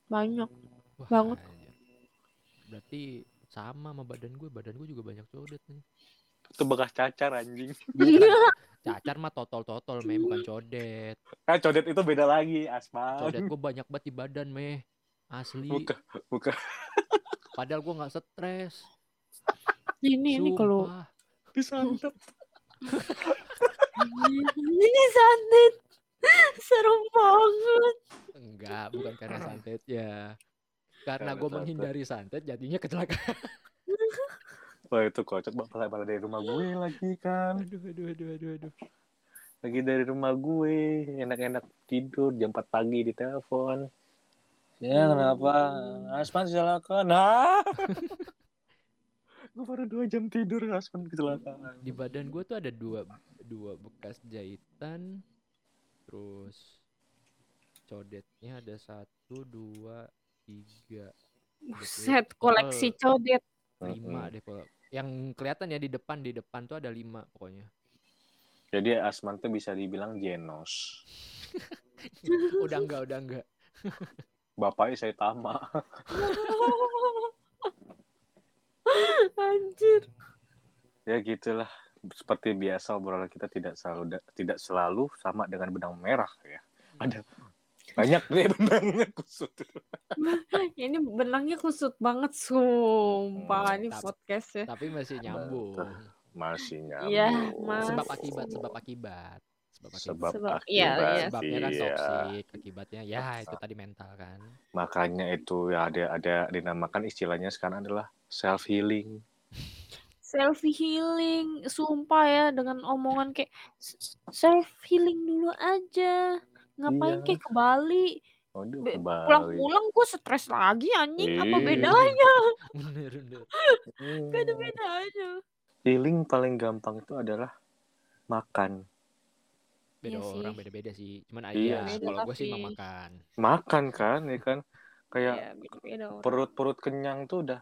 Speaker 4: banyak
Speaker 1: Wah,
Speaker 4: Banget.
Speaker 1: anjir. Berarti sama sama badan gue. Badan gue juga banyak codet nih.
Speaker 3: itu bekas cacar anjing
Speaker 1: Cacar mah totol-totol, meh. Bukan codet.
Speaker 3: nah codet itu beda lagi aspal
Speaker 1: Codet gue banyak banget di badan meh Asli
Speaker 3: bukan bukan
Speaker 1: Padahal gue gak stres
Speaker 4: ini ini kalau
Speaker 1: Sumpah.
Speaker 3: disantap
Speaker 4: ini santet serem banget
Speaker 1: Enggak bukan karena santet ya Karena
Speaker 3: Karena
Speaker 1: gue
Speaker 3: santet.
Speaker 1: menghindari santet jadinya kecelakaan
Speaker 3: Wah itu kocak balik balik dari rumah gue lagi kan.
Speaker 1: Aduh, aduh, aduh, aduh, aduh.
Speaker 3: Lagi dari rumah gue enak-enak tidur jam 4 pagi di telepon. Ya kenapa? Asman silakan. Nah. gue baru dua jam tidur Asman kecelakaan.
Speaker 1: Di badan gue tuh ada dua dua bekas jahitan, terus codetnya ada satu, dua, tiga,
Speaker 4: Buset, koleksi codet.
Speaker 1: lima deh kalau yang kelihatan ya di depan di depan tuh ada lima pokoknya
Speaker 3: Jadi Asman tuh bisa dibilang Genos.
Speaker 1: udah enggak udah enggak
Speaker 3: Bapaknya saya tamak.
Speaker 4: Anjir.
Speaker 3: Ya gitulah. Seperti biasa obrolan kita tidak selalu tidak selalu sama dengan benang merah ya. Ada banyak deh benangnya kusut.
Speaker 4: Ini benangnya kusut banget sumpah
Speaker 3: Hmm,
Speaker 4: ini
Speaker 1: tapi-
Speaker 4: podcast ya.
Speaker 1: tapi masih
Speaker 3: Nah.
Speaker 1: nyambung
Speaker 3: Masih nyambung.
Speaker 4: Iya, mas.
Speaker 1: sebab akibat sebab akibat sebab akibat
Speaker 3: Sebab,
Speaker 4: Sebab-
Speaker 3: akibat.
Speaker 4: iya, iya.
Speaker 1: sebabnya kan
Speaker 3: iya.
Speaker 1: toksik akibatnya ya itu tadi mental kan
Speaker 3: Makanya itu ya ada ada dinamakan istilahnya sekarang adalah self healing.
Speaker 4: Self healing sumpah ya dengan omongan kayak self healing dulu aja.
Speaker 3: Iya.
Speaker 4: Ngapain kayak ke Bali?
Speaker 3: Waduh,
Speaker 4: Be-
Speaker 3: kembali.
Speaker 4: Pulang-pulang gue stres lagi anjing. Apa
Speaker 3: Iya.
Speaker 4: bedanya?
Speaker 1: bener bener
Speaker 3: Hmm.
Speaker 4: Gak ada bedanya.
Speaker 3: Healing paling gampang itu adalah makan.
Speaker 1: beda
Speaker 4: Iya sih.
Speaker 1: orang beda beda sih cuman
Speaker 3: Iya.
Speaker 1: aja
Speaker 4: Beda
Speaker 1: kalau gue sih
Speaker 4: tapi.
Speaker 1: mau makan
Speaker 3: Makan kan ya kan kayak
Speaker 4: Ya, beda-beda orang.
Speaker 3: perut-perut kenyang tuh udah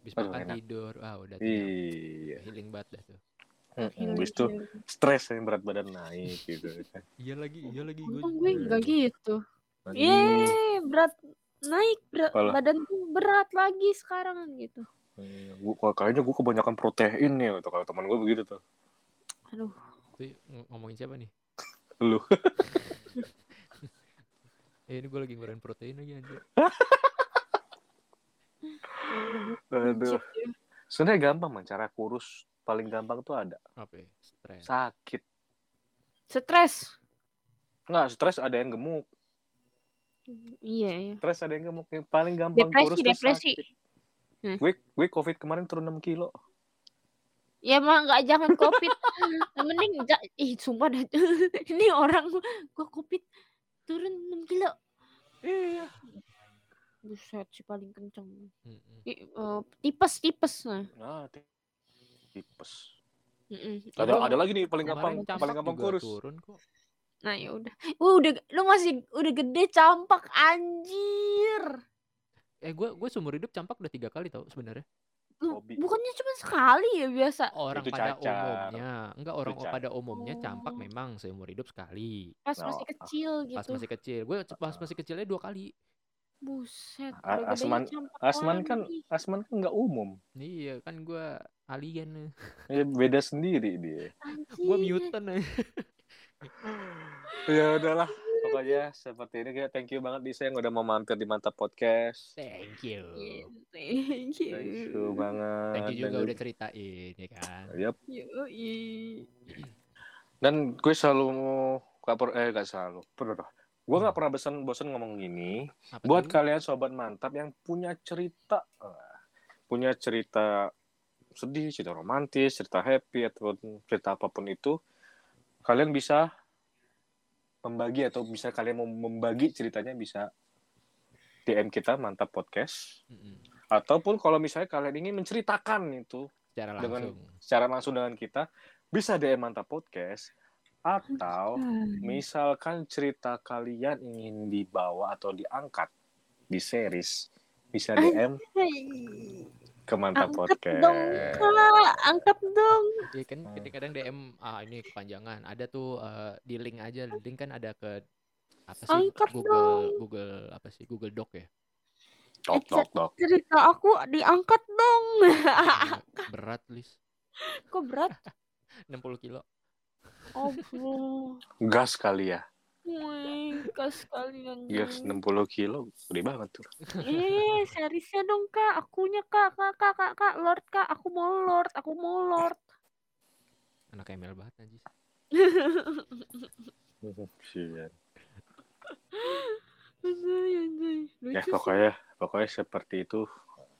Speaker 1: bis
Speaker 3: Aduh,
Speaker 1: makan
Speaker 3: enak.
Speaker 1: tidur ah udah tuh
Speaker 3: iya.
Speaker 1: healing banget dah tuh
Speaker 3: Mm-mm.
Speaker 4: Healing,
Speaker 3: Habis itu
Speaker 4: healing.
Speaker 3: stres yang berat badan naik gitu kan.
Speaker 1: iya lagi iya lagi
Speaker 4: Untung gue nggak gitu.
Speaker 3: Hmm.
Speaker 4: Yeay, berat naik berat,
Speaker 3: Walah.
Speaker 4: badan tuh berat lagi sekarang gitu.
Speaker 3: Hmm, Gua, gua- kayaknya gue kebanyakan protein ya tuh kalau teman gue begitu tuh.
Speaker 4: Aduh,
Speaker 1: Tuh, ng- ngomongin siapa nih
Speaker 3: Lu.
Speaker 1: eh ini gue lagi ngurangin protein lagi anjir
Speaker 3: Aduh.
Speaker 4: shit ya.
Speaker 3: Sebenarnya gampang man cara kurus paling gampang tuh ada
Speaker 1: apa ya?
Speaker 3: Iya.
Speaker 1: stres
Speaker 3: sakit.
Speaker 4: stres.
Speaker 3: Enggak, stres ada yang gemuk.
Speaker 4: Iya, iya.
Speaker 3: Stres ada yang gemuk. Yang paling gampang
Speaker 4: Depresi,
Speaker 3: kurus tuh
Speaker 4: depresi.
Speaker 3: sakit.
Speaker 4: Hmm.
Speaker 3: Gue gue COVID kemarin turun 6 kilo.
Speaker 4: Ya mah nggak jangan covid. Mending ja- ih sumpah dah. Ini orang gua covid turun 6 kilo.
Speaker 3: Iya.
Speaker 4: Buset si paling kenceng.
Speaker 1: Mm-mm.
Speaker 4: I- eh, tipes tipes nah.
Speaker 3: Nah, ti- tipes.
Speaker 4: Mm-mm.
Speaker 3: Ada
Speaker 1: Gua
Speaker 3: ada lagi nih paling gampang
Speaker 1: Kemarin campak
Speaker 3: paling gampang
Speaker 1: juga
Speaker 3: kurus.
Speaker 1: turun kok
Speaker 4: Nah, ya udah. Uh, udah lu masih udah gede campak anjir.
Speaker 1: eh gue gue seumur hidup campak udah tiga kali tau sebenarnya
Speaker 4: Lu-
Speaker 3: Hobi.
Speaker 4: Bukannya cuma sekali ya biasa.
Speaker 1: orang
Speaker 3: Itu
Speaker 1: pada
Speaker 3: cacar.
Speaker 1: umumnya enggak orang
Speaker 3: cacar.
Speaker 1: pada umumnya campak
Speaker 4: Oh.
Speaker 1: memang seumur hidup sekali
Speaker 4: Pas
Speaker 3: Nah,
Speaker 4: masih
Speaker 3: ah,
Speaker 4: kecil gitu.
Speaker 1: pas masih kecil gue pas masih kecilnya dua kali
Speaker 4: Buset.
Speaker 3: A-
Speaker 4: udah gedenya
Speaker 3: Asman-
Speaker 4: campak
Speaker 3: Asman kan
Speaker 4: lagi.
Speaker 3: Asman kan nggak umum.
Speaker 1: iya kan gue alien
Speaker 3: Ya, beda sendiri dia.
Speaker 1: gue
Speaker 4: Anjir.
Speaker 1: mutant eh.
Speaker 3: Ya udahlah. Pokoknya seperti ini kita thank you banget Disa yang udah mau mampir di Mantap Podcast.
Speaker 1: thank you
Speaker 4: Iya, Thank you.
Speaker 3: Iya. Thank you banget.
Speaker 1: thank you juga
Speaker 3: Dan-
Speaker 1: udah ceritain ya kan
Speaker 3: Yap.
Speaker 4: Yoi.
Speaker 3: Dan gue selalu gak per- eh gak selalu. Pernah. Gue gak pernah bosan bosan ngomong gini.
Speaker 1: Apa
Speaker 3: Buat
Speaker 1: tuh?
Speaker 3: kalian sobat mantap yang punya cerita, eh, punya cerita sedih, cerita romantis, cerita happy atau cerita apapun itu, kalian bisa membagi atau bisa kalian mau membagi ceritanya bisa DM kita mantap podcast
Speaker 1: Mm-mm.
Speaker 3: ataupun kalau misalnya kalian ingin menceritakan itu
Speaker 1: secara
Speaker 3: Dengan-
Speaker 1: langsung
Speaker 3: secara langsung dengan kita bisa DM Mantap Podcast atau misalkan cerita kalian ingin dibawa atau diangkat di series bisa DM
Speaker 4: Hai.
Speaker 3: ke Mantap
Speaker 4: Angkat dong,
Speaker 3: Podcast.
Speaker 4: Kak. Angkat dong.
Speaker 1: Iya kan
Speaker 3: Hmm.
Speaker 1: kadang-kadang DM ah ini kepanjangan. Ada tuh eh, di link aja, link kan ada ke apa sih
Speaker 4: Angkat
Speaker 1: Google
Speaker 4: dong.
Speaker 1: Google apa sih Google Doc ya.
Speaker 3: Tok tok tok.
Speaker 4: Cerita aku diangkat dong. Ah.
Speaker 1: Berat list
Speaker 4: Kok berat?
Speaker 1: 60 kilo.
Speaker 4: Oh, bro.
Speaker 3: Gas kali
Speaker 4: Hmm.
Speaker 3: ya.
Speaker 4: Wih, kas kalian.
Speaker 3: Gas 60 kilo gede banget tuh.
Speaker 4: Eh, seriesnya dong kak, akunya kak, kak, kak, kak, kak, lord kak, aku mau lord, aku mau lord.
Speaker 1: Anak ML banget anjir.
Speaker 3: Sian.
Speaker 4: Anjay, anjay.
Speaker 3: ya
Speaker 4: Lucu sih.
Speaker 3: pokoknya pokoknya seperti itu.
Speaker 4: Hmm.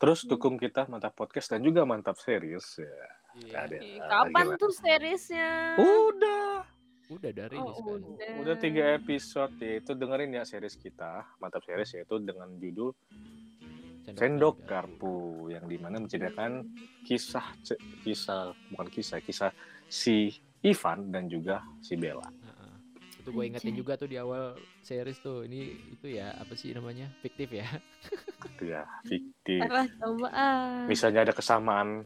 Speaker 3: Terus dukung kita mantap podcast dan juga mantap serius
Speaker 4: Ah.
Speaker 3: ya.
Speaker 1: Iya.
Speaker 3: Ada.
Speaker 4: Ih, Kapan
Speaker 3: Gimana? Oh,
Speaker 4: tuh seriesnya?
Speaker 3: Udah.
Speaker 1: Udah dari kan. ini
Speaker 4: Oh,
Speaker 1: sekarang.
Speaker 3: Udah tiga episode yaitu dengerin ya series kita mantap series yaitu dengan judul Sendok Garpu yang dimana menceritakan kisah ce- kisah bukan kisah kisah si Ivan dan juga si Bella.
Speaker 1: Heeh. Itu gue ingetin
Speaker 4: Anjay.
Speaker 1: juga tuh di awal series tuh. Ini itu ya apa sih namanya? Fiktif ya.
Speaker 3: Itu ya fiktif.
Speaker 4: Alah, coba ah.
Speaker 3: Misalnya ada kesamaan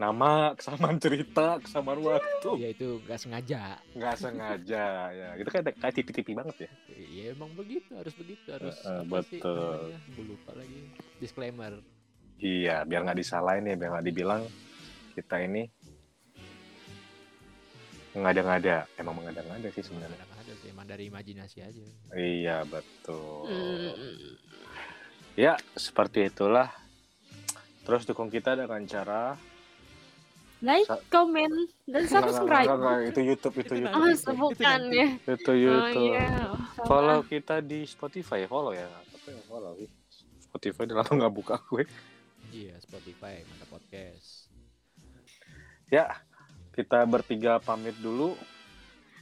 Speaker 3: nama, kesamaan cerita, kesamaan waktu,
Speaker 1: ya itu nggak sengaja.
Speaker 3: nggak sengaja ya. Itu kan kayak tipi-tipi banget ya.
Speaker 1: Ya emang begitu, harus begitu, harus
Speaker 3: Heeh,
Speaker 1: apa sih
Speaker 3: betul.
Speaker 1: namanya? Gue lupa lagi. Disclaimer.
Speaker 3: Iya, biar nggak disalahin ya, biar nggak dibilang kita ini mengada-ngada. Emang mengada-ngada sih sebenarnya.
Speaker 1: Anak ada sih, emang dari imajinasi aja.
Speaker 3: Iya betul.
Speaker 4: Hmm.
Speaker 3: Ya, seperti itulah. Terus dukung kita dengan cara
Speaker 4: Like,
Speaker 3: Sa-
Speaker 4: comment, dan
Speaker 3: Enggak,
Speaker 4: subscribe.
Speaker 3: enggak, enggak, itu YouTube, itu
Speaker 1: Itu
Speaker 3: YouTube.
Speaker 4: Oh,
Speaker 1: nanti.
Speaker 3: itu-
Speaker 4: bukan
Speaker 1: nanti.
Speaker 4: ya.
Speaker 3: Itu
Speaker 4: Oh,
Speaker 3: YouTube.
Speaker 4: iya.
Speaker 3: Follow kita di Spotify, follow ya. Apa yang follow sih? Spotify udah lama nggak buka gue.
Speaker 1: Iya, Spotify, mantap podcast.
Speaker 3: Ya, kita bertiga pamit dulu.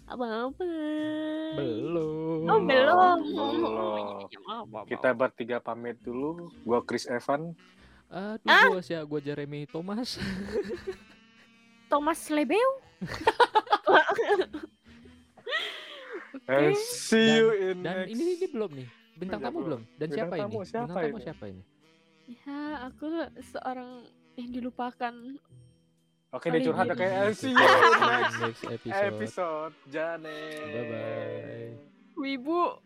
Speaker 4: Apa-apa.
Speaker 1: Belum.
Speaker 4: Oh, belum.
Speaker 3: Belum. Kita bertiga pamit dulu. Gua Chris Evan.
Speaker 1: Aduh,
Speaker 4: Ah?
Speaker 1: gua sih, gua Jeremy Thomas.
Speaker 4: Thomas Lebeu. Iya.
Speaker 3: And see you in
Speaker 1: Dan
Speaker 3: next.
Speaker 1: ini ini belum nih. Bintang
Speaker 3: Bintang
Speaker 1: tamu
Speaker 3: belum.
Speaker 1: belum? Dan
Speaker 3: Bintang
Speaker 1: siapa ini?
Speaker 3: tamu siapa
Speaker 1: Bintang tamu
Speaker 3: ini?
Speaker 1: siapa ini?
Speaker 4: Ya, aku seorang yang dilupakan.
Speaker 3: Oke, dia curhat oke. And see you in
Speaker 1: Next
Speaker 3: next
Speaker 1: episode.
Speaker 3: episode. Jane.
Speaker 1: Bye-bye.
Speaker 4: Wibu.